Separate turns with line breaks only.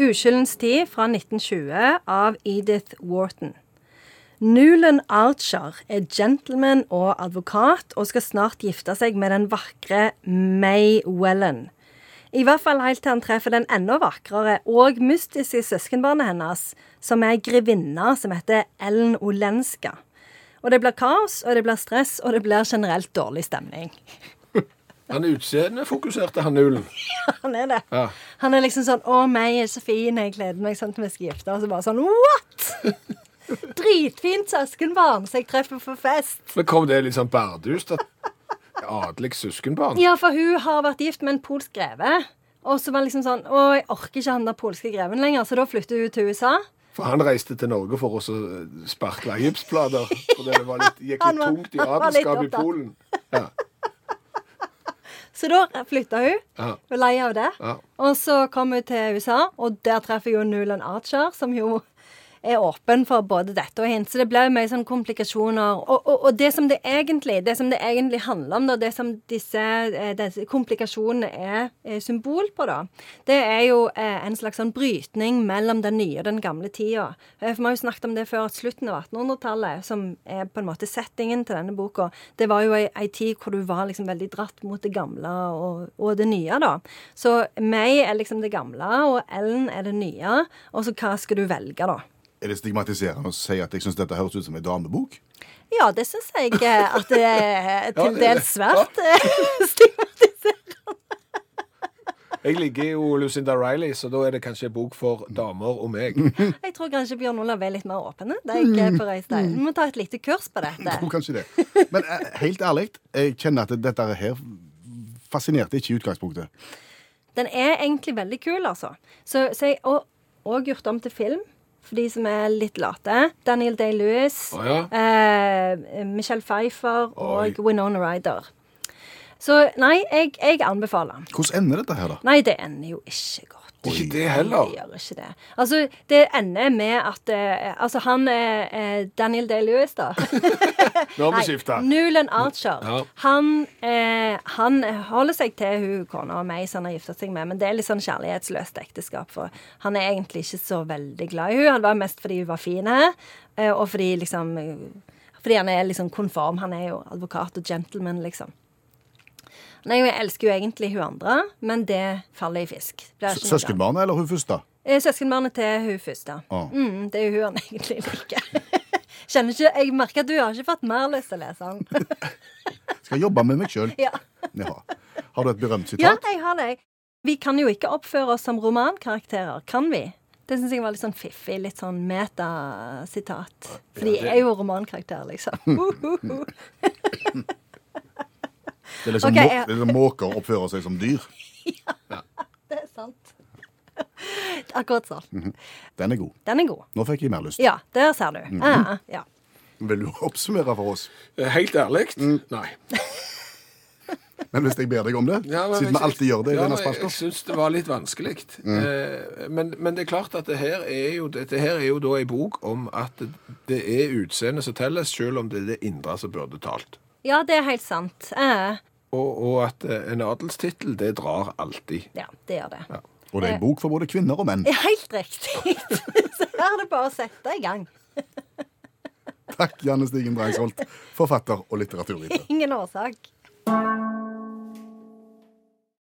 'Uskyldens tid' fra 1920 av Edith Wharton. Nulan Archer er gentleman og advokat og skal snart gifte seg med den vakre May Wellen. I hvert fall helt til han treffer den enda vakrere og mystiske søskenbarnet hennes, som er ei grevinne som heter Ellen Olenska. Og det blir kaos, og det blir stress, og det blir generelt dårlig stemning.
Han er utseendefokuserte, han Nulen.
Han er det.
Ja.
Han er liksom sånn 'Å, meg er så fin, jeg gleder meg sånn til vi skal gifte', og så bare sånn 'What?!' Dritfint søskenbarn som jeg treffer på fest.
Men kom det litt sånn bardust? at- Adelig søskenbarn?
Ja, for hun har vært gift med en polsk greve. Og så var det liksom sånn 'Å, jeg orker ikke han der polske greven lenger', så da flytter hun til USA.
For han reiste til Norge for å så sparkle gipsplater. Fordi det var litt, gikk
Han
litt
var-
tungt i
han var litt
adelskapet i
opptatt.
Polen. Ja.
Så da flytta hun.
Ja.
Hun er lei av det.
Ja.
Og så kom hun til USA, og der treffer hun Nulan Archer, som jo er åpen for både dette og hint. Så det ble jo mye sånn komplikasjoner. Og, og, og det, som det, egentlig, det som det egentlig handler om, da, det som disse, eh, disse komplikasjonene er eh, symbol på, da, det er jo eh, en slags sånn brytning mellom den nye og den gamle tida. Eh, For vi har jo snakket om det før, at slutten av 1800-tallet, som er på en måte settingen til denne boka, det var jo ei, ei tid hvor du var liksom veldig dratt mot det gamle og, og det nye, da. Så meg er liksom det gamle, og Ellen er det nye. Og så hva skal du velge, da?
Er det stigmatiserende å si at jeg syns dette høres ut som en damebok?
Ja, det syns jeg eh, at det er
Ja,
til
det er det.
dels svært eh, stigmatiserende.
Jeg ligger jo Lucinda Riley, så da er det kanskje en bok for damer og meg.
Jeg tror kanskje Bjørn Olav er litt mer åpen. Det er
Mm.
ikke på Røystein. Vi må ta et lite kurs på dette.
Tror kanskje det. Men eh, helt ærlig, jeg kjenner at dette her fascinerte ikke i utgangspunktet.
Den er egentlig veldig kul, altså. Så, så jeg, og, og gjort om til film, for de som er litt late. Daniel Day-Lewis,
Å ja.
eh, Michelle Pfeiffer
Oi.
og Winona Ryder. Så nei, jeg, jeg anbefaler.
Hvordan ender dette her, da?
Nei, det ender jo ikke godt.
Det er ikke det heller.
Det gjør ikke det. Altså, det ender med at eh, Altså, han eh, eh, Daniel Day-Lewis, da.
Nå har
Nei,
vi skifta.
Nulan Archer.
Ja.
Han, eh, han holder seg til hun kona og meg som han har gifta seg med, men det er litt sånn kjærlighetsløst ekteskap. For han er egentlig ikke så veldig glad i hun. Han var mest fordi hun var fin, eh, og fordi liksom Fordi han er liksom konform. Han er jo advokat og gentleman, liksom. Nei, Jeg elsker jo egentlig hun andre, men det faller i fisk. Det er ikke noe
S-
annet.
Søskenbarnet eller hun først, da?
Eh, Søskenbarnet til hun første.
Ah.
Mm, det er jo hun han egentlig liker. Kjenner ikke, Jeg merker at du har ikke fått mer lyst til å lese den.
Skal jobbe med meg sjøl.
ja.
Ja. Har du et berømt
ja,
sitat?
jeg har det. Vi kan jo ikke oppføre oss som romankarakterer, kan vi? Det syns jeg var litt sånn fiffig. Litt sånn metasitat. For de
Ja, det- Mm.
er jo romankarakterer, liksom.
Det er liksom
Ok,
må-
jeg-
det er liksom måker oppfører seg som dyr.
det er sant. Akkurat sånn.
Mm-hmm.
Den er god.
Den er god.
Nå fikk jeg mer lyst.
Ja, der ser du.
Mm-hmm.
Ja, ja.
Vil du oppsummere for oss?
Helt ærlig?
Mm.
Nei.
Men hvis jeg ber deg om det,
Ja, men
siden
jeg-
vi alltid gjør det i
ja,
denne
men
spalten. Mm.
Jeg syns det var litt vanskelig. Eh, Men, men det er klart at det her er jo, dette her er jo da ei bok om at det er utseendet som teller, selv om det er det indre som burde talt.
ja, det er helt sant. Eh,
Og, og at eh, en adelstittel, det drar alltid.
Ja, det gjør det.
Og det er en bok for både kvinner og menn.
Ja, Helt riktig. Så her er det bare å sette i gang.
Takk, Janne Stigen Breisholt, forfatter og litteraturviter.
Ingen årsak.